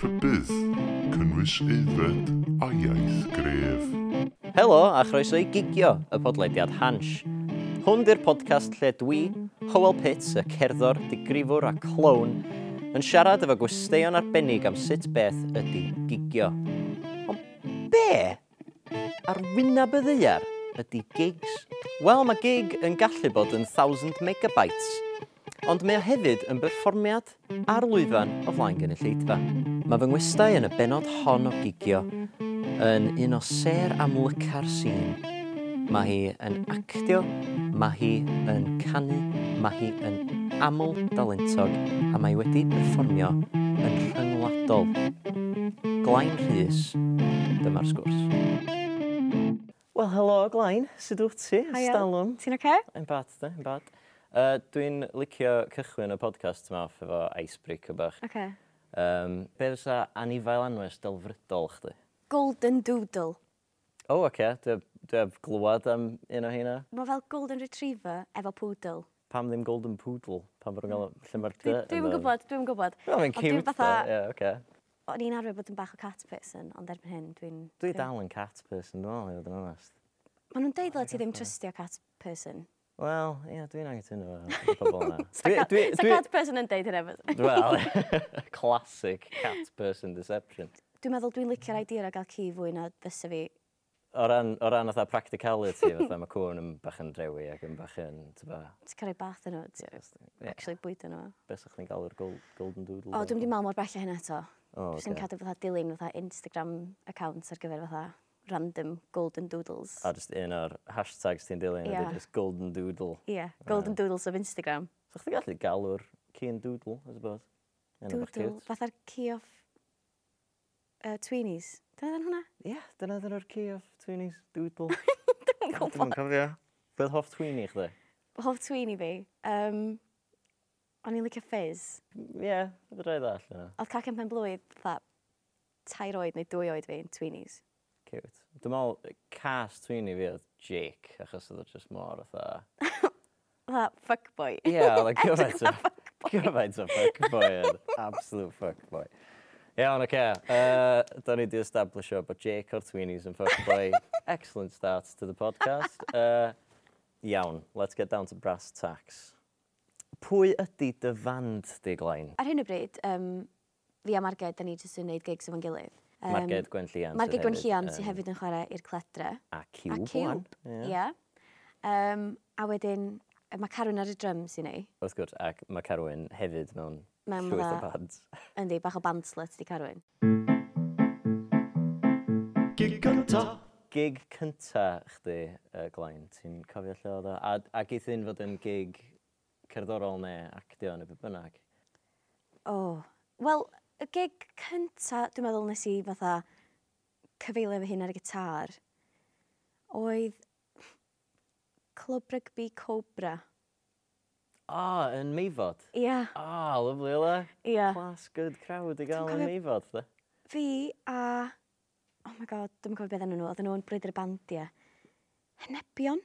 rhybydd, cynnwys aeddfed a iaith gref. Helo a chroeso i Gigio, y podlediad Hansh. Hwn di'r podcast lle dwi, Howell Pitts, y cerddor, digrifwr a clown, yn siarad efo gwesteion arbennig am sut beth ydy gigio. Ond be? Ar wyneb y ddeiar ydy gigs? Wel, mae gig yn gallu bod yn 1000 megabytes, ond mae o hefyd yn berfformiad ar lwyfan o flaen gynulleidfa. Mae fy ngwestau yn y benod hon o gigio yn un o ser amlyca'r sîn. Mae hi yn actio, mae hi yn canu, mae hi yn aml dalentog a mae wedi perfformio yn rhyngwladol. Glain Rhys, dyma'r sgwrs. Wel, helo Glain, sut wyt ti? Hiya. Stalwm. Ti'n oce? Yn bad, de, yn bad. Uh, Dwi'n licio cychwyn y podcast yma off efo icebreaker bach. Oce. Um, be fysa anifail anwes delfrydol chdi? Golden Doodle. O, oh, oce, okay. dwi'n glwad am un o heina. Mae fel Golden Retriever efo poodle. Pam ddim Golden Poodle? Pam bod yn gael lle mae'r dy? Dwi'n Mm. dwi gwybod, dwi'n gwybod. Wel, mae'n Ond dwi'n cute, dda. fatha- Ie, oce. O'n i'n arfer bod yn bach o cat person, ond erbyn hyn dwi'n... Dwi dal yn cat person, dwi'n meddwl, i fod yn onest. Maen nhw'n deud dda ti ddim trystio cat person. Wel, ie, dwi'n anghytuno efo y pobol yna. Sa ca- sa cat person yn deud hynny efo. Wel, classic cat person deception. Dwi'n meddwl dwi'n licio'r idea o gael ci fwy na fysa fi. O ran, o ran fatha practicality, fatha mae cwn yn bach yn drewi ac yn bach yn, ti'n ba, Ti'n cael ei bath yn nhw, ti'n Ie. actually bwyd yn nhw. beth ydych chi'n gael yr gold, golden doodle? O, de? dwi'n mynd i meddwl mor bell o hynna eto. O, Dwi'n oce. okay. cadw fatha dilyn fatha Instagram account ar gyfer fatha random golden doodles. A just un o'r hashtags ti'n dilyn, yeah. Ie. just golden doodle. Ie, yeah, golden doodles of Instagram. So chdi gallu galw'r cyn doodle, I suppose. Enw bach Doodle, cute. fatha'r key of uh, tweenies. Dyna ddyn hwnna? Ie, yeah, dyna ddyn nhw'r key of tweenies, doodle. Dwi'n Dwi'n gwybod. cofio. Beth hoff tweenie chdi? Hoff tweenie fi. Um, o'n i'n licio fizz. Ie, yeah, bydd rhaid all yna. Oedd cacen pen blwydd, fatha, tair oed neu dwy oed fi yn tweenies. Cute. Dwi'n meddwl, y cast tweenie fi oedd Jake, achos oedd o just mor fatha... Fatha, fuckboy. Ie, oedd o gyfaint o... fuckboy. Gyfaint o fuckboy. oedd. Absolute fuckboy. Iawn, oce. Yy, Da ni di establishio bod Jake o'r tweenies yn fuckboy. Excellent start to the podcast. Uh, iawn, let's get down to brass tacks. Pwy ydy dy fand di glain? Ar hyn o bryd, um, fi a Marged, da ni jyst yn gwneud gigs efo'n gilydd. Yym, Marged Gwen Llian. sydd Marged Gwen hefyd Llian, sydd yn- hefyd yn chwarae i'r cledre. A Cube. a Cube, wan. ie. Ie. Um, a wedyn, yy, mae Carwyn ar y drums i ni. Wrth gwrs, ac mae Carwyn hefyd mewn Mewn llwyth o fatha- bands. Yndi, bach o bandslet di Carwyn. gig cynta chdi, uh, Glain, ti'n cofio lle oedd o? A, a geith un fod yn gig cerddorol neu actio neu beth bynnag. O, wel, y gig cynta, dwi'n meddwl nes i fatha cyfeilio fy hun ar y gitar, oedd Clwb Rygbi Cobra. O, yn meifod. Ia, O, lyflu yla. ia. Class good crowd i gael Dwi'm yn cofio- meifod, da. Fi a... Oh my god, dwi'n cofio beth enw nhw. Oedden nhw'n brwydr y bandiau. Henebion?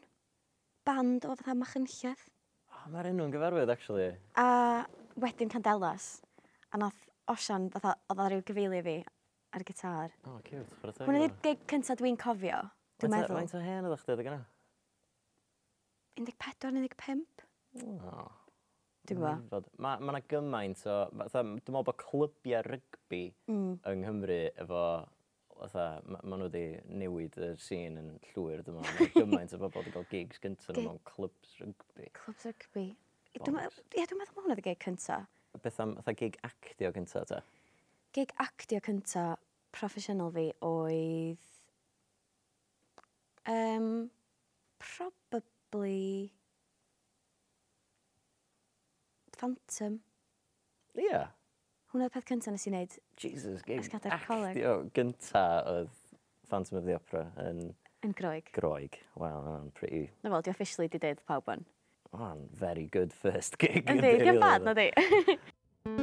Band o fatha Machynlleth. O, mae'r enw'n gyfarwydd, actually. A wedyn Candelas. A nath Osian, fatha, oedd ar ryw gyfeilio fi ar y gitar. O, oh, cute. chwarae teg Hwna iddo. di'r gig cynta dwi'n cofio, dwi'n Faint o- meddwl. Faint o hen oedd chdi, dy gynna? 14, 15? O, Dwi'n gwybod. meifod. Mae ma 'na gymaint o... Fatha, dwi'n meddwl bod clybiau rygbi Mm. yng Nghymru efo... Fatha, ma, ma nhw wedi newid y sîn yn llwyr, dwi'n meddwl. Mae gymaint o bobl wedi cael gigs gyntaf nhw Gig- mewn clybs rygbi. Clubs Rugby. Ie, dwi'n Bollocks. meddwl ma' hwnna oedd y gig cynta. Beth am, fatha gig actio gyntaf, ta? Gig actio cynta proffesiynol fi oedd... Um, probably... Phantom. Ie. Yeah. Hwna oedd peth cynta nes i wneud Jesus, gig Esgada'r coleg. actio gyntaf oedd Phantom of the Opera yn yn groeg. Groeg. Wel, wow, pretty... Na fel, di officially di deud pawb yn. Man, very good first gig. Yndi, yndi, di'n rili, bad yndi. na di.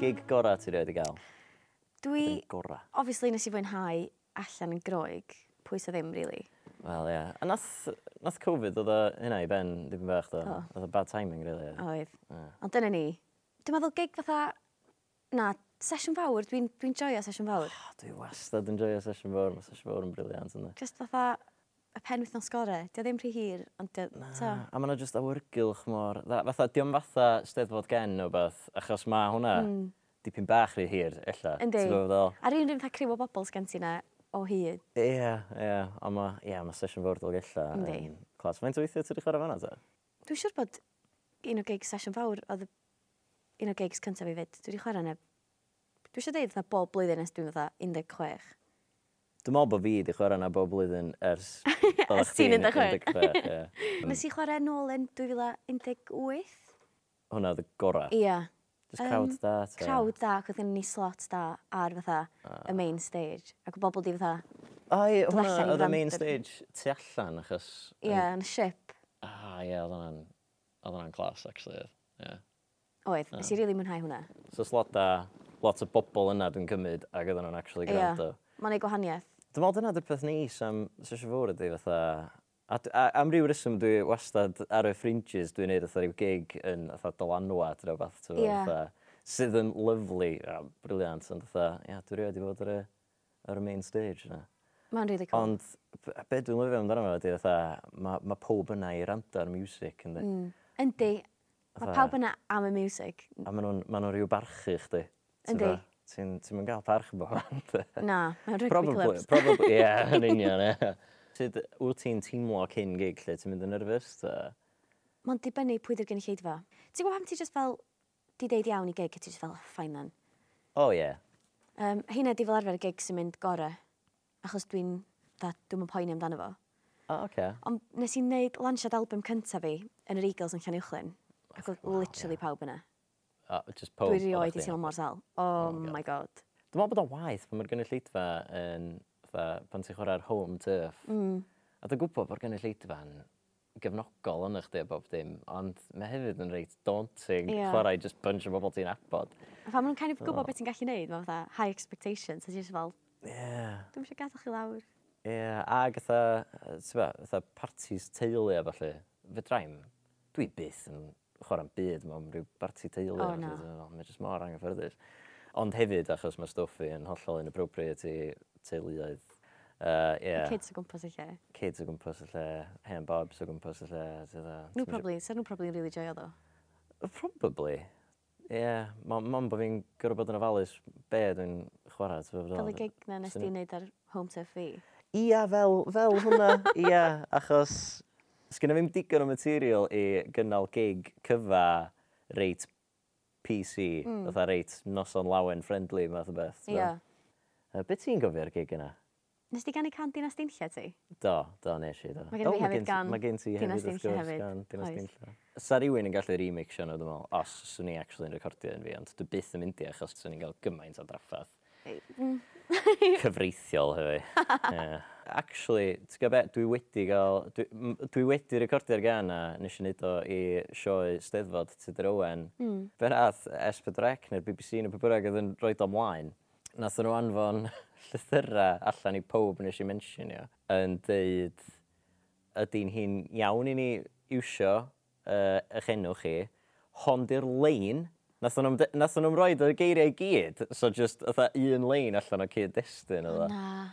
Gig gora ti wedi gael? Dwi, Gig gora. obviously, nes i fwynhau allan yn groeg. Pwy sa ddim, really. Wel, ie. Yeah. A nath, nath Covid oedd o- hynna i ben ddim bach do. Do. Oedd o bad timing, really. Ie. Oedd. Ie. Ond dyna ni. Dwi'n meddwl gig fatha... Na, sesiwn fawr. Dwi'n dwi joio sesiwn fawr. O, Dwi wastad yn joio sesiwn fawr. Mae sesiwn fawr yn briliant yna. Just fatha y pen wythnos gorau. Dio ddim rhy hir, ond dio... Na. A mae yna jyst awyrgylch mor... dda- Fatha, diom fatha steddfod gen o beth, achos mae hwnna mm. dipyn bach rhy hir, illa. Hmm. Yndi. Ti'n gwbod be' dwi'n feddwl? Ar un rhywun fatha criw o bobl sgan ti na o hyd. Ie, ie. Ond mae yeah, ma sesiwn fawr dolgella. Yndi. yn Clas, faint o weithiau ti wedi chwarae fanna, ta? Dwi'n siŵr bod un o gigs sesiwn fawr oedd y- un o gigs cyntaf i fyd. Dwi wedi chwarae neb. Dwi eisiau deud fatha bob blwyddyn nes dwi'n fatha 16. Dwi'n meddwl bod fi wedi chwarae na bob blwyddyn ers... oeddach Ers ti'n chdi'n 16. 16, ie. Nes i chwarae nôl yn 2018. Hwnna oedd y gorau. Ia. Just crowd Yym, da. ta. Crowd da, ac oedden ni slot da ar fatha y main stage. Ac o bobl di fatha, Ai, Dod allan i hwnna oedd y main Brampton. stage tu allan, achos... ia, yeah, yn y ship. Ah, ie, oedd hwnna'n... Oedd hwnna'n clas, actually. oedd. Ie. Oedd, nes i rili mwynhau hwnna. So slot da, lot o bobl yna dwi'n cymryd, ac oedden nhw'n actually Ie. gwrando. Mae'n ei gwahaniaeth. Dwi'n meddwl dyna dy'r peth neis am sesio fawr ydy fatha... A, d- a, am ryw reswm dwi wastad ar y fringes dwi'n neud fatha ryw gig yn fatha dylanwad neu fath. Ie. sydd yn lyflu, a briliant, ond fatha, ia, dwi rioed i fod ar y, ar y main stage yna. Mae'n rili cool. Ond b- be dwi'n lyfio amdano fo ydy fatha, mae ma pob yna i rando ar music yndi. Mm. Yndi, mae Fatha- pawb yna am y music. A maen nhw'n ma nhw rhyw barchu chdi. ti'n Yndi. gwbo? Ti'n ti'n mynd gael parch yn bob ond. Na, mae'n rugby Probably, clubs. probably, ie, yeah, yn union, ie. Sut, wyt ti'n teimlo cyn gig lle ti'n mynd yn nerfus? ta? Mae'n dibynnu pwy dd'r gynulleidfa. Ti'n gwybod pam ti just fel, di deud iawn i gig, a ti just fel, ffain then. O, ie. Um, heina di fel arfer y gig sy'n mynd gorau, achos dwi'n, da, dwi'n mynd poeni amdano fo. O, oce. Ond nes i wneud lansiad album cyntaf fi yn yr Eagles yn Llanuwchlyn, ac oedd literally pawb yna. O, Just pob. Dwi oeddach rioed i chdi. teimlo mor sal. Oh, my god. Dwi'n meddwl bod o'n waith pan mae'r gynulleidfa yn, fatha, pan ti'n chwarae'r home turf. Mm. A dwi'n gwybod bod gynulleidfa'n gefnogol yn chdi a bob dim, ond mae hefyd yn reit daunting Ie. chwarae just bunch o bobl ti'n abod. A Pan maen nhw'n kind of gwybod beth ti'n gallu neud, mae'n fatha high expectations, a ti'n just fel, Ie. Yeah. dwi'n eisiau gadw chi lawr. Ie, ag eitha, yy, ti'n ba, eitha partis teulu a falle, fedrai'm, dwi byth yn chwarae'n byd mewn rhyw barti teulu. O, a na. felly, dwi'n meddwl, Mae jyst mor anghyffyrddus. Ond hefyd, achos mae stwff fi yn hollol inappropriate i teuluoedd. Uh, yeah, kids. Kids o gwmpas y lle. kids o gwmpas y lle, hen bobs o gwmpas y lle. ti'n gwbo, Nhw ti'm isio- probably, sa'n nhw probably yn really joio ddo. Probably. Ie, yeah, mam bod fi'n gorfod bod yn ofalus be dwi'n chwarae. ti'n gwbo be dwi'n Fel y feddwl? gig na nes Swn- di wneud ar home turf fi. Ia, fel, fel hwnna. Ia, achos sgynna fi'm digon o material i gynnal gig cyfa reit PC, mm. fatha reit noson lawen friendly, math o beth. Ie. Yeah. Uh, Be ti'n gofio'r gig yna? Nes di gannu can dinas dinlla ti? Do, do, nes i, do. Ma' gen i O, fi hefyd gen ti- gan ma' gen ti hefyd, Dinas wrth Dinlla gwrs, hefyd, gan Dinas oes. Dinlla. Sa rhywun yn gallu remixio nhw, dwi'n meddwl, os swn i actually yn recordio yn fi, ond dwi byth yn mynd i achos swn i'n cael gymaint o draffaeth. mm. cyfreithiol hefyd. yeah. Actually, ti'n gwybod beth, dwi wedi gael, dwi, m- dwi wedi recordio'r gan a nes i wneud o i sioe Steddfod Tudur Owen. Hmm. Mm. Fe nath S4C neu'r BBC neu pwbwrag oedd yn rhoi o mlaen. Nath nhw anfon llythyrau allan i pob nes i mentionio yn deud ydy'n hi'n iawn i ni iwsio uh, eich enw chi, hond i'r lein, Nathon nhw'n rhoi y geiriau i gyd, so just ytha un lein allan o cyd-destun oedd o. Na.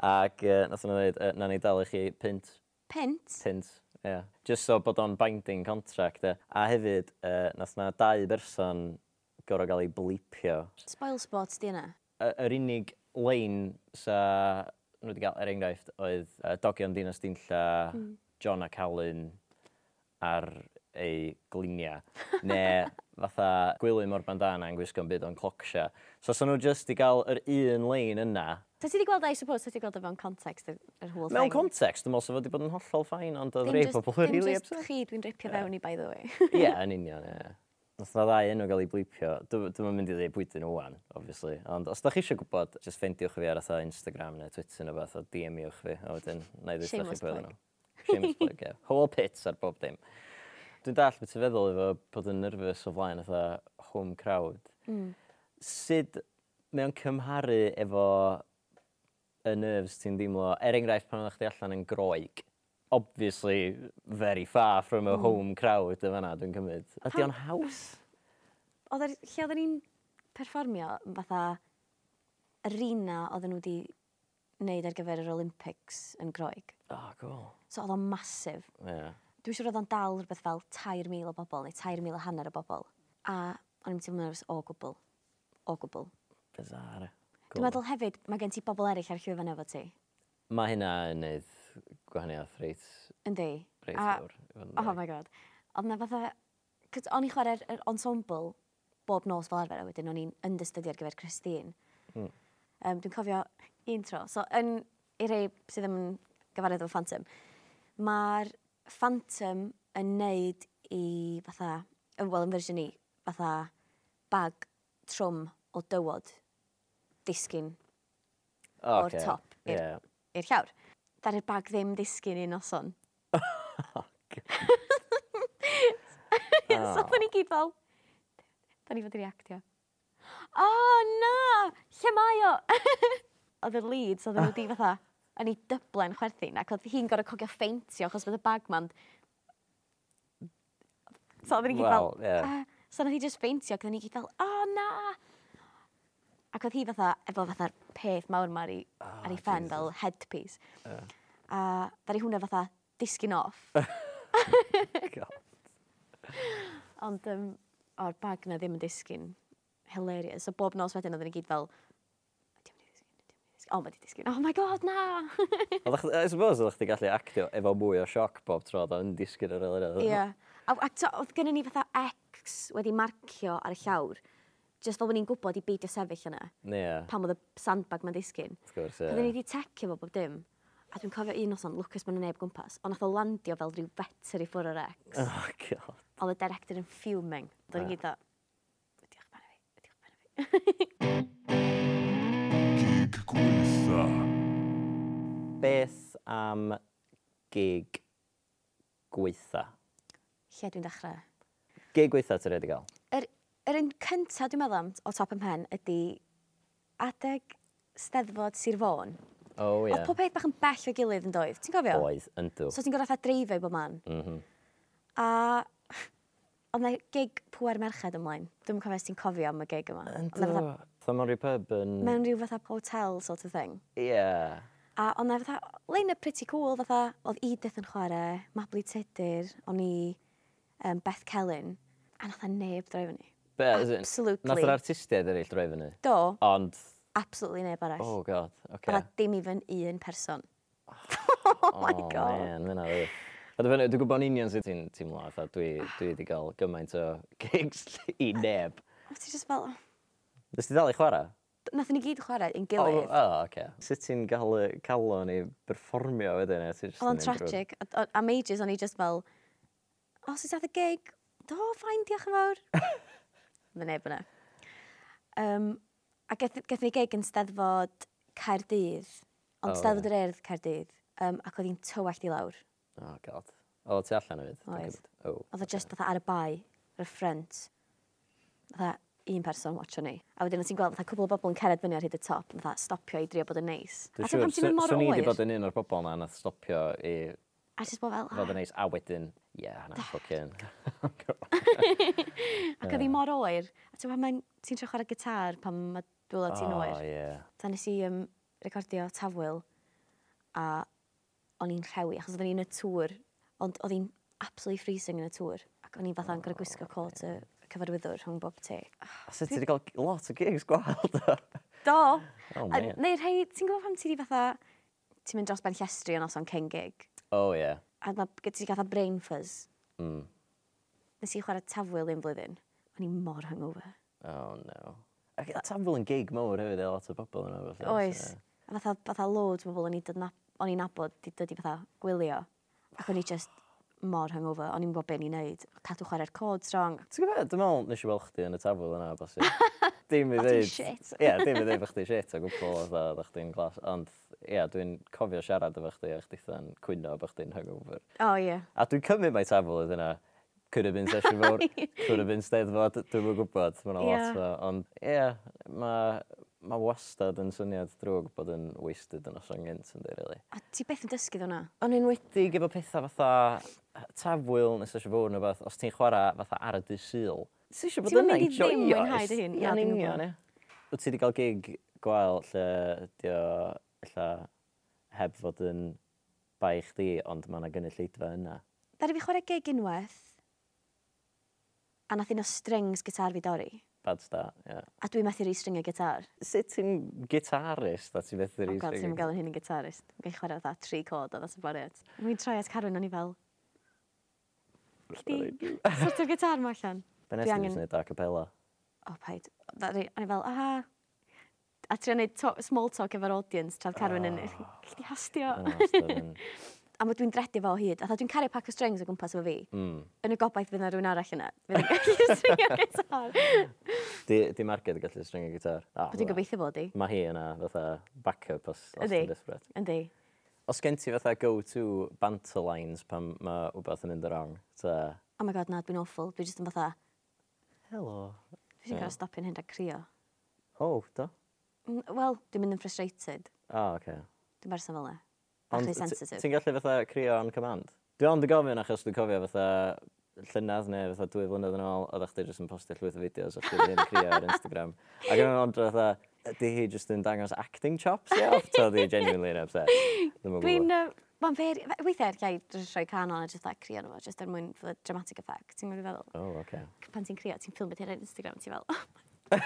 Ac uh, nathon nhw'n dweud, uh, na ni dal i chi pint, Pint? pint, ie. Yeah. Just so bod o'n binding contract, e. A hefyd, uh, nath na dau berson gorau gael ei blipio. Spoil sports di yna. Y- Yr unig lein sa nhw wedi gael, er enghraifft, oedd uh, Dogion Dinas Dinlla, Hmm. John a Calyn ar ei gliniau. Neu fatha Gwilym o'r bandana yn gwisgo'n byd o'n clocsia. So, sa nhw jyst i gael yr un lein yna, Ta ti di gweld, I suppose, ta ti gweld o fewn context yr, yr whole Mewn thing? context, dwi'n meddwl sef wedi bod yn hollol ffain, ond oedd Dim rei just- pobl yn rili Dim just upset. chi dwi'n dripio fewn i, by the way. Ie, yn union, ie. Nath na ddau enw gael ei blipio. Dwi'n mynd i ddweud pwy dyn nhw wan, obviously. Ond os da chi eisiau gwybod, just ffendiwch fi ar atho Instagram neu Twitter neu beth, o DM-iwch fi, a wedyn, na i ddweud Shameless chi beth plug. nhw. Shameless plug, ie. Howell Pits ar bob dim. Dwi'n dall beth i feddwl efo bod yn nerfus o flaen atho home Hmm. crowd. Mm. Sut mae o'n cymharu efo y nerves ti'n ddimlo, er enghraifft pan o'ch di allan yn groeg, obviously very far from Hmm. a home crowd y fanna, dwi'n cymryd. Ydy o'n haws? Oedd yr, lle oedden ni'n perfformio yn fatha yr una oedden nhw wedi wneud ar gyfer yr Olympics yn Groeg. Oh, cool. So oedd o'n masif. Yeah. Dwi'n siŵr oedd o'n dal rhywbeth fel 3,000 o bobl neu 3,000 a hanner o bobl. A o'n i'n teimlo'n nerfus o gwbl. O gwbl. Bizarre. Dwi'n meddwl hefyd, mae gen ti bobl eraill ar llwyfan efo ti. Mae hynna yn neud gwahaniaeth reit, Yndi. reit A- fawr. i fod yn Oh deg. my god. Oedd na fatha... 'c'os O'n i'n chwarae'r yr ensemble bob nos fel arfer, a wedyn o'n i'n yndystydu ar gyfer Christine. Um, dwi'n cofio un tro. So, yn, i rei sydd ddim yn gyfarwydd efo Phantom, mae'r Phantom yn neud i fatha, yn- wel, yn fersiwn i, fatha bag trwm o dywod disgyn o'r Ocê. top i'r- Yeah. i'r llawr. Da'r bag ddim disgyn un noson. so, da ni gyd fel... Da ni fod i reactio. O, oh, na! Lle mae o? oedd y leads, oedd nhw di fatha, o'n i dyblen chwerthin, ac oedd hi'n gorau cogio ffeintio, achos bod y bagman... So, oedd ni gyd fel... Wel, ie. "Ah." So, oedd hi just ffeintio, ac oedd ni gyd fel, o, oh, na! Ac oedd hi fatha, efo fatha'r peth mawr ma ar ei, ar ei ffen fel headpiece. A ddari hwnna fatha disgyn off. God. Ond um, o'r bag na ddim yn disgyn. Hilarious. So bob nos wedyn oedden ni gyd fel, "Ydi o'n mynd i ddisgyn? Ydi o'n mynd i ddisgyn?" O, mae di disgyn. Oh my god, na! Oeddach- I suppose ydych chi'n gallu actio efo mwy o sioc bob tro oedd yn disgyn yr elyrra. Ie. A, a t'o, oedd gennym ni fatha X wedi marcio ar y llawr. Just fel bod ni'n gwybod i beidio sefyll yna. Ie, Pan oedd y sandbag ma'n disgyn. wrth gwrs. Oedden ie. ni wedi tecio fo bob dim. A dwi'n cofio un noson, Lucas ma'n neb gwmpas, ond nath o landio fel rhyw better i ffwrdd o'r ex. Oh, God. Oedd y director yn fuming. Do'n i gyd o, ydi'ch barn fi, ydi'ch barn fi. Gig gweitha. Beth am gig gweitha? Lle dwi'n dechrau? Gig gweitha ti'n rhaid i gael? Yr, yr un cyntaf dwi'n meddwl am o top ym mhen ydy adeg steddfod Sir Fôn. O, ie. Oedd Oh, pob peth bach yn bell o'i gilydd yn doedd, ti'n cofio? Oedd, Mhm. yndw. So ti'n gorau fatha dreifio i bob man. A oedd na gig pwer merched ymlaen. Dwi'n cofio os ti'n cofio am y gig yma. Oedd 'na fatha- Thomori Pub yn... Mewn rhyw fatha hotel sort of thing. Ie. A ond na fatha, lein y pretty cool, fatha, oedd Edith yn chwarae, Mabli Tudur, o'n i um, Beth Celyn, a nath a neb droi fyny. Be, as in, Absolutely. Nath yr artistiaid eraill droi fyny. Do, Ond, absolutely neb arall. oh god, oce. Fatha dim even un person. oh my Oh, god. man, fyna fi. A dwi'n dwi'n gwybod yn union sydd ti'n teimlo, a dwi dwi wedi cael gymaint o gigs i neb. A ti just fel, Nes ti dal i chwarae? nath e ni gyd chwarae yn O, gilydd. o, oce. Sut ti'n gael y calon i berfformio wedyn? ia? Ti jyst Oedd o'n yn mynd drwy- tragic, a- a- am ages o'n i just fel, o, sut ath y gig? Do, ffain, diolch yn fawr. Mae neb yna. Um, a geth- gethon ni gig yn steddfod Caerdydd, O, ond ie. steddfod yr erdd Caerdydd, um, ac oedd hi'n tywallt i lawr. O, god. O, ti allan o fydd? Oedd. O, Oedd o just fatha ar y bai, ar y ffrent. Fatha un person watcho ni. A wedyn o't ti'n gweld fatha cwbl o bobl yn cered fyny ar hyd y top, fatha stopio i drio bod yn neis. A Dwi'n ti'n siŵr, pan ti'n mynd mor swn i wedi oer, bod yn un o'r bobl na nath stopio i a ti'n bod fel, fod "Ah." yn neis, a wedyn, ie, yeah, na, ffocin. ac oedd hi mor oer. A ti'n pan ti'n trio chwarae gitar pan mae dwi'n ti'n O, oer. ie. Ta nes i um, recordio tafwyl a o'n i'n rhewi achos oedden ni yn y tŵr, ond oedd hi'n absolutely freezing yn y tŵr ac o'n i'n fatha yn gorau gwisgo cot y y cyfarwyddwr rhwng bob te. A sut ti wedi cael lot o gigs gwael, da? Do! Oh, A- man. Neu rhai, ti'n gwybod pam ti di fatha, ti'n mynd dros ben llestri o noson cyn gig, O, ie. a ma, ti di gatha brain fuzz. Mm. Nes i chwarae tafwyl un flwyddyn, o'n i mor hungover. Oh, no. Ac y tafl yn gig mawr hefyd, e, lot o bobl yna. felly, Oes. so- A fatha, fatha loads o bobl o'n i dod na- o'n i'n nabod di dod i fatha gwylio. Ac o'n i just mor hungover, o'n i'n gwybod beth ni'n neud. Cadw chwarae'r cod strong. Ti'n gwybod, dwi'n meddwl nes i weld chdi yn y tafwyl yna, bosib. Dim i O'ch ddeud... chdi'n shit. Ie, dim i ddeud bod chdi shit o gwbl oedd oedd chdi'n glas. Ond, ie, dwi'n cofio siarad efo chdi a chdi tha'n cwyno bod chdi'n hungover. O oh, ie. A dwi'n cymryd mai tafwyl oedd yna. Could have been session fawr, could have been steddfod, dwi'm yn gwybod, mae'n Ie. lot o. Ond, ie, mae mae wastad yn syniad drwg bod yn wasted yn os gynt yn dweud, really. A ti beth yn dysgu ddwnna? Yn enwedig efo pethau fatha tafwyl nes eisiau fod yn fath, os ti'n chwarae fatha ar y dy syl. Ti eisiau bod Ti'm yn yna mynd i i ddim joio. mwynhau dy hun, na, Ia'n dwi'n union, ie. Wyt ti wedi cael gig gwael lle ydi o ella heb fod yn bai chdi, ond mae yna gynulleidfa yna. Dari fi chwarae gig unwaith, a nath un o strings gitar fi dorri. Bad start, ie. A dwi methu restringio gitar. Sut ti'n gitarist a ti beth O yr god, ti'n gael yn hyn yn gitarist. Dwi'n gael chwarae fatha tri cod o ddas y boriad. Mi'n troi at Carwyn, o'n i fel, chdi, sort o'r gitar ma allan. Ben Dwi Estyn angen- angen... wneud a capella. O, paid. O'n i fel, aha. A trio neud to- small talk efo'r audience, traf Carwyn yn, chdi hastio. Yn wastad yn... A mae dwi'n dredu fo o hyd. A dwi'n cario pack o strings o gwmpas efo fi. Mm. Yn y gobaith fydd yna rhywun arall yna. Fydd yn gallu stringio gitar. Di, di marged y gallu stringio gitar. Ah, Dwi'n gobeithio bod i. Mae hi yna fatha backup os, os Ydi. ti'n desperate. Yndi. Os gen ti fatha go-to banter lines pan mae wbeth yn mynd yn wrong, ta... Oh my god, na, dwi'n awful. Dwi jyst yn fatha, Helo. dwi jyst yn cael stopio'n hyn a crio. Oh, do? Mm, Wel, dwi'n mynd yn frustrated. Ah, oce. Okay. Dwi'n berson fel yna. Bach yn sensitive. Ti'n gallu fatha crio on command? Dwi ond y gofyn achos dwi'n cofio fatha llynedd neu fatha dwy flynedd yn ôl, oeddech chi jyst yn postio llwyth o fideos o chdi yn crio ar Instagram. Ac yn ond fatha, ydy hi jyst yn dangos acting chops ie? Off to the genuinely yn upset. Dwi'n mwyn Dwi'n... gwybod. yy, Mae'n fer... Weithiau, ia, dwi'n rhoi canol a jyst like, crio nhw, jyst er mwyn for the dramatic effect. Ti'n mynd i feddwl, Oh, oce. Okay. pan ti'n crio, ti'n ffilmio ti'n ar Instagram, ti'n fel... "Oh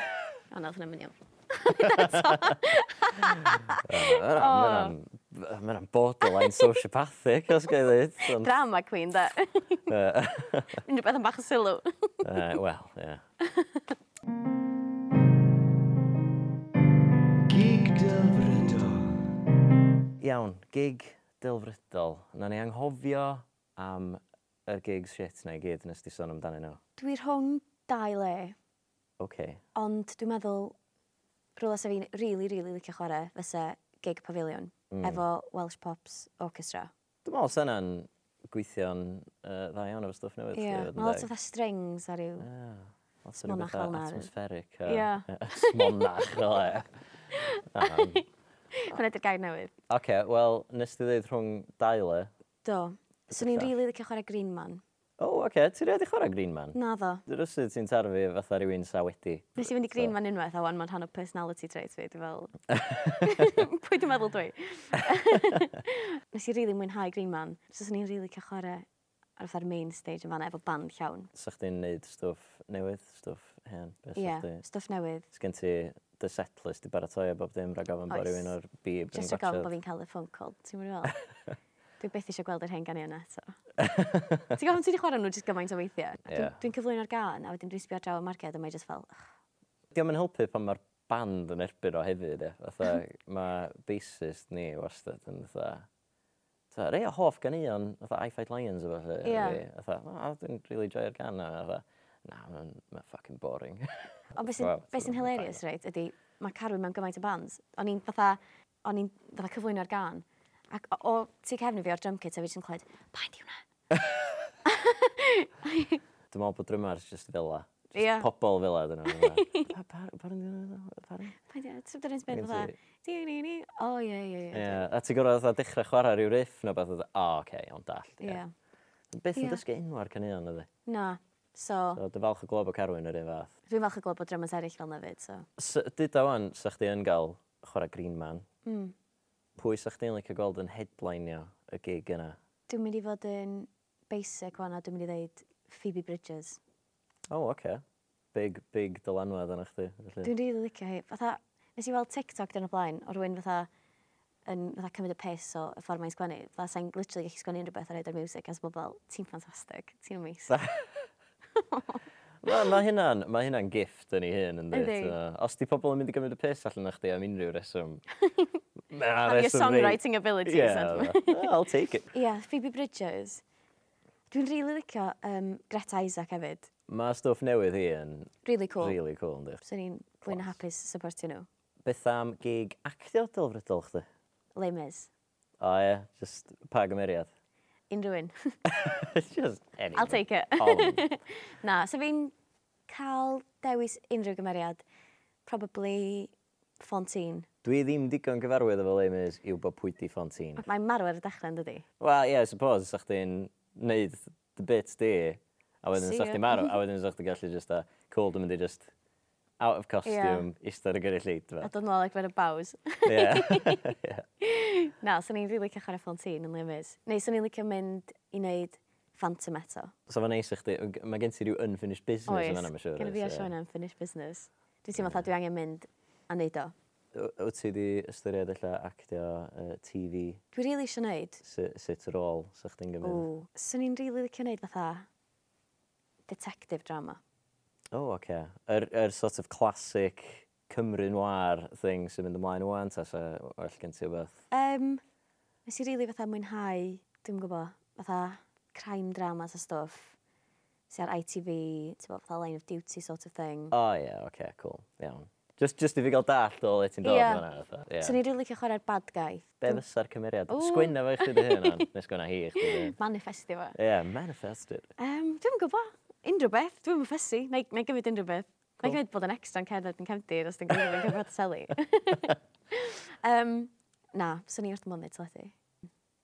O, na, hwnna'n mynd iawn. Oh, Mae'n borderline sociopathic, os gael ei ddweud. Drama queen, da. Unrhyw beth yn bach o sylw. Uh, Wel, ie. Gig delfrydol. Iawn, gig delfrydol. Na ni anghofio am y gig shit na i gyd nes di sôn amdanyn nhw. Dwi rhwng dau le, OK. ond dwi'n meddwl rhywle sef fi'n rili, rili licio chwarae fysa gig pavilion efo Welsh Pops Orchestra. Dwi'n meddwl sy'n yna'n gweithio'n uh, dda iawn efo stwff newydd. Ie, yeah. mae lot o fatha strings a ryw. smonach Smonach fel 'na. Atmospheric. Ie. a- Smonach fel e. Hwna di'r gair newydd. OK, wel, nes di ddweud rhwng e. dau le. Do. So ni'n Ydych chi? rili licio chwarae Green Man. O, oh, OK, ti rhaid i chwarae Green Man? Na ddo. Dy rysydd ti'n tarfu fatha rhywun sa wedi. Nes i fynd i Green Man unwaith a wan mae'n rhan o personality traits fi, dwi fel... Pwy dwi'n meddwl dwi? Nes i rili mwynhau Green Man, so swn i'n rili cael chwarae ar fatha'r main stage yn fanna efo band llawn. Sa chdi'n neud stwff newydd, stwff hen. Ie. Ie, yeah, stwff newydd. Os gen ti dy setlist i baratoi a bob dim rhag ofyn bod Oes. rhywun o'r bib yn Just o gofn bod gwatsiad. fi'n cael y phone call, ti'n mynd i fel? Dwi beth eisiau gweld yr hen gan i yna, so. ti'n gofyn ti wedi chwarae nhw jyst gymaint o weithiau. A Dwi'n Ie. dwi'n cyflwyno'r gan, a wedyn dwi'n sbio ar draw y marced, a mae jyst fel, "Ugh, Diolch yn helpu pan mae'r band yn erbyn o hefyd. E. Fatha, mae bassist ni wastad yn fatha... Ta, rei o hoff gan i o'n fatha I Fight Lions efo fe. Ie. Fatha, o, oh, dwi'n really joio'r gan o. Fatha, na, mae'n ma fucking boring. Ond beth Wel, sy'n- beth sy'n dwi'n meddwl hilarious, reit, ydy, mae Carwyn mewn gymaint o bands. O'n i'n fatha, o'n i'n fatha cyflwyno'r gan. Ac o, o tu cefn i fi o'r drum kit, a fi jyst yn clywed, pa'n di hwnna? Dwi'n meddwl bod drymar jyst fela. Just Ie. Pobol fela dyn nhw. Parin, parin. Pa'n di hwnna? Sef dyn nhw'n sbyn Gen fatha, ti- di ni ni? O, ie, ie, ie. Ie. A ti'n gorfod fatha dechrau chwarae rhyw riff neu beth. O, oce, iawn, dallt. ie. Ie. Beth Ie. yn dysgu unwa'r canion ydy. Na. So, So, dy falch o glob o carwyn yr un fath. dwi'n falch o gweld bod drummers eraill fel nefyd, so. S- Dyd o wan, sa chdi yn gael chwarae Green Man. Mm. Pwy sa chdi'n licio gweld yn headlinio y gig yna? Dwi'n mynd i fod yn basic wan, a dwi'n mynd i ddeud Phoebe Bridges. O, oh, oce. Okay. Big, big dylanwad yna chdi. felly. Dwi'n rili licio hi. Fatha, nes i weld TikTok dyn o blaen, o rwy'n fatha, yn fatha cymryd y pes o y ffordd mae'n sgwennu. Fatha, sa'n literally gallu sgwennu unrhyw beth ar eida'r music, as bod fel, ti'n ffantastig, ti'n amazing. Ma- Ma' hynna'n ma hynna gift yn ei hun, yndi. Ydi. So, Os di pobl yn mynd i gymryd y piss allan o'ch chdi am unrhyw reswm. Have Have your songwriting abilities. and- Yeah, I'll take it. Ie, Phoebe Bridges. Dwi'n rili licio um, Greta Isaac hefyd. Mae stwff newydd hi yn Really cool. Really. really cool, yndi. So ni'n fwy na hapus supportio nhw. Beth am gig actio dylfrydol chdi? Le Mis. O ie, just pa gymeriad. Unrhyw un. just Oh, anything. I'll take it. All of 'em. Na, so fi'n cael dewis unrhyw gymeriad. Probably Fontaine. Dwi ddim digon gyfarwydd efo le mis yw bod pwy di Fontaine. Mae marw ar y dechrau yn dydi. Wel, ie, yeah, suppose, sa chdi'n neud dy bit di, a wedyn See sa ya. chdi marw, a wedyn sa chdi gallu just a, cool, dwi'n mynd i just out of costume, yeah. eistedd y gyrru lleid, A fe. dod nôl ac fe'n y baws. Ie. Na, swn i'n rili licio chwarae Fontaine yn Limis. Neu swn i'n licio mynd i wneud Phantom eto. So mae'n neis i chdi, mae gen ti rhyw unfinished business yn fanna, mae'n siŵr. gen i fi so- ar Sean am Finished Business. Dwi'n teimlo fatha dwi angen mynd a wneud o. W- Wyt ti di ystyried allan actio uh, TV, Dwi rili eisiau wneud. sut, sut rôl sa chdi'n gymryd? O, swn i'n rili licio wneud fatha detective drama. O, oh, oce. Okay. Yr er, sort of classic Cymru noir thing sy'n mynd ymlaen o'n ta, sa well gen ti o beth. Um, nes i rili fatha mwynhau, dwi'n gwybod, fatha crime dramas a stwff. Si ar ITV, ti'n gwbod, fatha line of duty sort of thing. O oh, ie, yeah, oce, okay, cool, iawn. Just, just i fi gael dallt o le ti'n dod Ie. yeah. fan'na. fatha, ie. Swn i'n rili licio chwarae'r bad guy. Be fysa'r cymeriad? O. Sgwynna fe i chdi dy hyn, ond nes gwyna hi i chdi dy hyn. Manifestio fo. Ie, manifest it. Um, dwi'n gwybod, unrhyw beth, dwi'n mynd ffysu, neu, neu gymryd unrhyw beth. Cool. Neu gymryd bod yn extra yn cerdded yn cefndir os dwi'n gwybod yn cyfrod y seli. um, na, swn i wrth mwyn mynd teledu.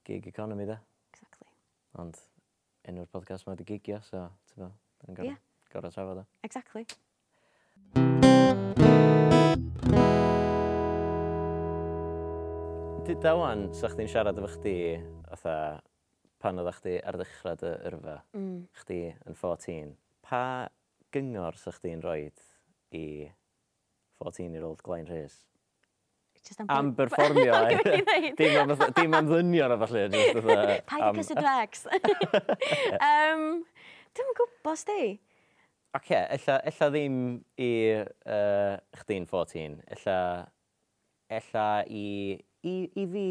Gig economy da. Exactly. Ond enw'r podcast mae wedi gigio, so, ti'n fo, yn gorau Ie. yeah. gora trafod o. Exactly. Dyd da wan, sa chdi'n siarad efo chdi, otha, pan oedd chdi ar ddechrau dy yrfa, mm. chdi yn 14, pa gyngor sa chdi'n rhoi i 14-year-old Glenn Rhys? Just am... am performio. i ddeud. dim am fatha- dim am ddynion o falle. jyst fatha Paid i am- cysyd fex. um, dwi'n gwybod, sti. Oce, ella, ella ddim i uh, chdi'n 14. Ella, ella i, i, i fi.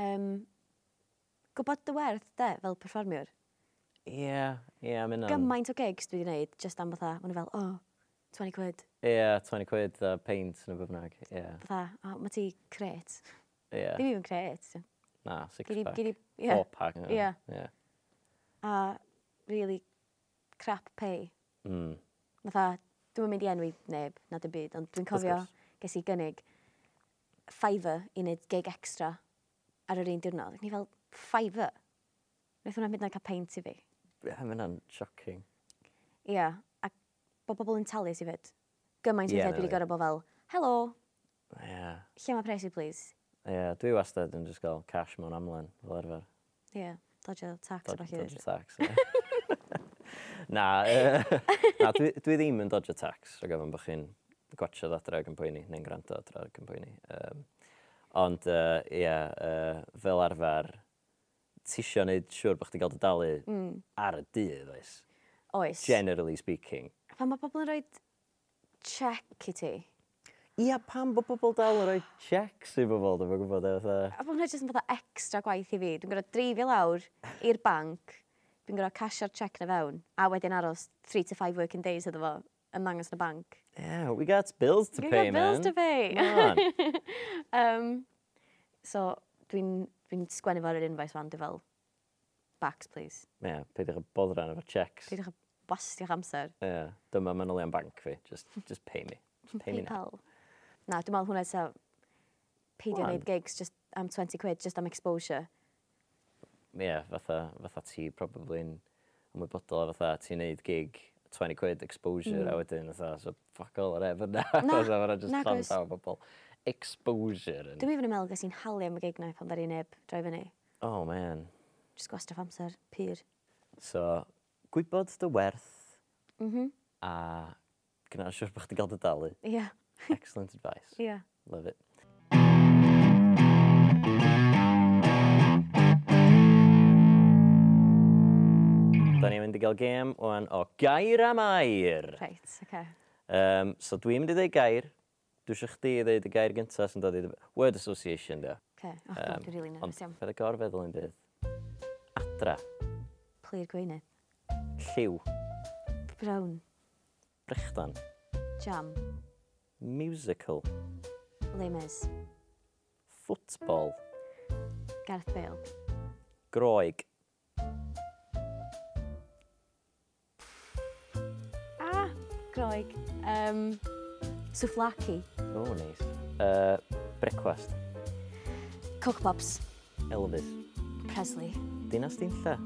Um, gwybod dy werth, de, fel perfformiwr. Ie, ie, am hynna. Gymaint o gigs dwi wedi gwneud, just am fatha, maen nhw fel, oh, 20 quid, Ie, 20 quid a paint yn y byfnag. Ie, fatha, oh, mae ti cret. ie. Ddim even cret. Na, six Gei di- pack. gei di- ie. Four pack. Ie. Ie. Ie. a really crap pay. Mm. Fatha, dwi'n mynd i enwi neb, na dim byd, ond dwi'n Wrth cofio gwrs. ges i gynnig Fiverr i wneud gig extra ar yr un diwrnod. Ac ni fel, Fiverr? Wnaeth hwnna mynd na cael paint i fi. Ie, Am hynna'n shocking. Ia, a bod bobl yn talu i fyd. Gymaint Ie, yeah, o fyd na wedi fi. gorau bod fel, helo, Ie. lle mae pres i please? Ie, dwi wastad yn just gael cash mewn amlen, fel arfer. Ia, yeah, dodgio tax Dod- o'r Dodger hyd. tax. ie. na, yy, na dwi, dwi ddim yn dodger tax, rhaid gofyn bod chi'n gwachod adre ag yn poeni, neu'n gwrando adre ag yn poeni. Um, ond, yy, ie, uh, fel arfer, ti isio wneud siŵr bod chdi gael dy dalu mm. ar y dydd, oes? Oes, Generally speaking. pan mae bobl yn rhoi check i ti, Ia, pam bod bobl dal yn rhoi checks i bobl, dwi'n gwybod, e, fatha... A bod hwnna jyst yn fatha extra gwaith i fi. Dwi'n gorfod dreifio lawr i'r banc, dwi'n gorfod casio'r cheque na fewn, a wedyn aros 3 to 5 working days iddo fo, yn ddangos yn y banc. Yeah, we got bills to Dwi'n pay, gorfod bills to man. pay. Come on. um, so, dwi'n dwi sgwennu fo'r unfaith fan, dwi'n fel, backs, please. Ie, peidiwch â boddran efo checks. Dwi'n dechrau wastio'ch amser. Yeah, dyma manylion banc fi. Just, just pay me. Just pay me now. PayPal. Na, dwi'n meddwl hwnna eto, peidio Wel, wneud gigs just am 20 quid, just am exposure. Ie, yeah, fatha, fatha ti probably yn ymwybodol o fatha ti'n neud gig 20 quid exposure mm. a wedyn fatha, so fuck all ar efer na. Na, so fanna just nag llond oes. llaw o bobl. Exposure. Yn... Dwi'n even yn meddwl ges i'n halu am y gig na pan ddari neb droi fyny. Oh man. Just gwastio'ch amser, pur. So, gwybod dy werth mm -hmm. a gwna siwr bod chdi gael dy dalu. Ie, yeah, Excellent advice. ie. Yeah. Love it. Da ni'n mynd i gael gêm o'n o gair am air. Reit, oce. Okay. Um, so dwi'n mynd i ddeud gair. Dwi eisiau chdi i ddeud y gair gyntaf sy'n dod i... dy- Word association, da. Okay. Oh, um, dwi'n rili nervous iawn. fedd y gorfeddwl yn bydd. Adra, Plir gweinydd. lliw, Brown. brechdan, Jam. musical, Limes. ffwtbol, Gareth Bale. groeg, Ah, groeg. Um, Souflaki. Oh, neis. Uh, brecwast, Coke Pops, Elvis, Presley. Dinas Dinlla,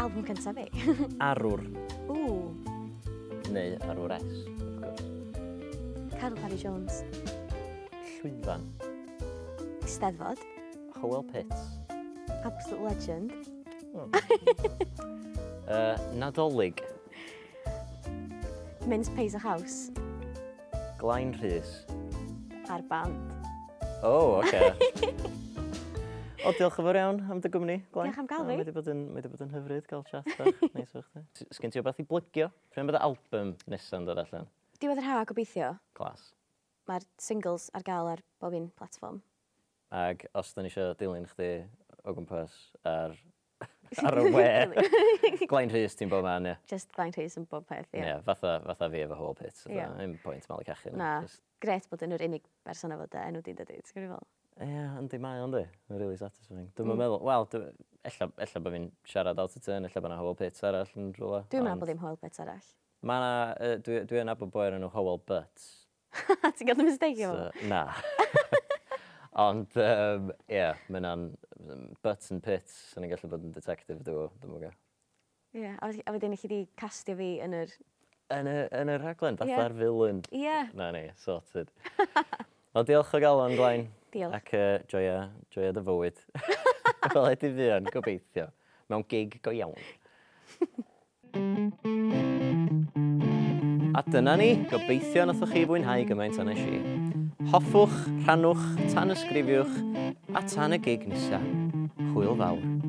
Album cyntaf fi. Arwr, Ww, neu Arwres, wrth gwrs. Carol Parry Jones. Llwyfan, Steddfod. Howell Pitts, Absolute Legend. uh, Nadolig, Mince Pays a House. Glaen Rhys. A'r band. O, oh, oce. o, diolch yn fawr iawn am dy gwmni, Glenn. Diolch am gael fi. Mae wedi bod yn, mae wedi bod yn hyfryd cael chat bach. Neis o'ch ti. S- Sgyn ti o beth i blygio? Pryn bydd y album nesaf yn dod allan? Diwedd yr ha gobeithio. Glas. Mae'r singles ar gael ar bob un platform. Ac os dyn ni eisiau dilyn chdi o gwmpas ar, ar y we, Glenn Rhys ti'n bod ma'n, ie. Just Glenn Rhys yn bob peth, ie. Ie, fatha, fatha fi efo Hall Pit. Ie. Ie. Yn pwynt malu cachu. Na, gret bod yn yr unig berson efo dy enw di dydy, ti'n gwybod fel? Ie, yndi mae ond i. Mae'n really satisfying. Dwi'n mm. meddwl, wel, dwi- ella, ella bod fi'n siarad out of turn, ella bod yna Hall Pits arall yn rhywle. Dwi'n meddwl bod ddim hoel beth arall. Mae yna, yy, dwi, dwi yn abod boi ar enw Howell Butts. ti'n gael dy mistake efo? So, na. Ond, yym, ie, um, mae yna'n Butts and Pits, yn gallu bod yn detective, dwi'n meddwl. Ie, a wed- a wedyn i chi di castio fi yn yr... Yn y, yn y raglen, Ie. fatha'r villain. Ie, Na ni, sorted. Wel, diolch o galon, Glein. Diolch. Ac uh, joia, joia dy fywyd. Fel ydy fi yn, gobeithio. Mewn gig go iawn. A dyna ni, gobeithio nathoch chi fwynhau gymaint a nes i. Hoffwch, rhannwch, tan ysgrifiwch, a tan y gig nesa. Hwyl fawr.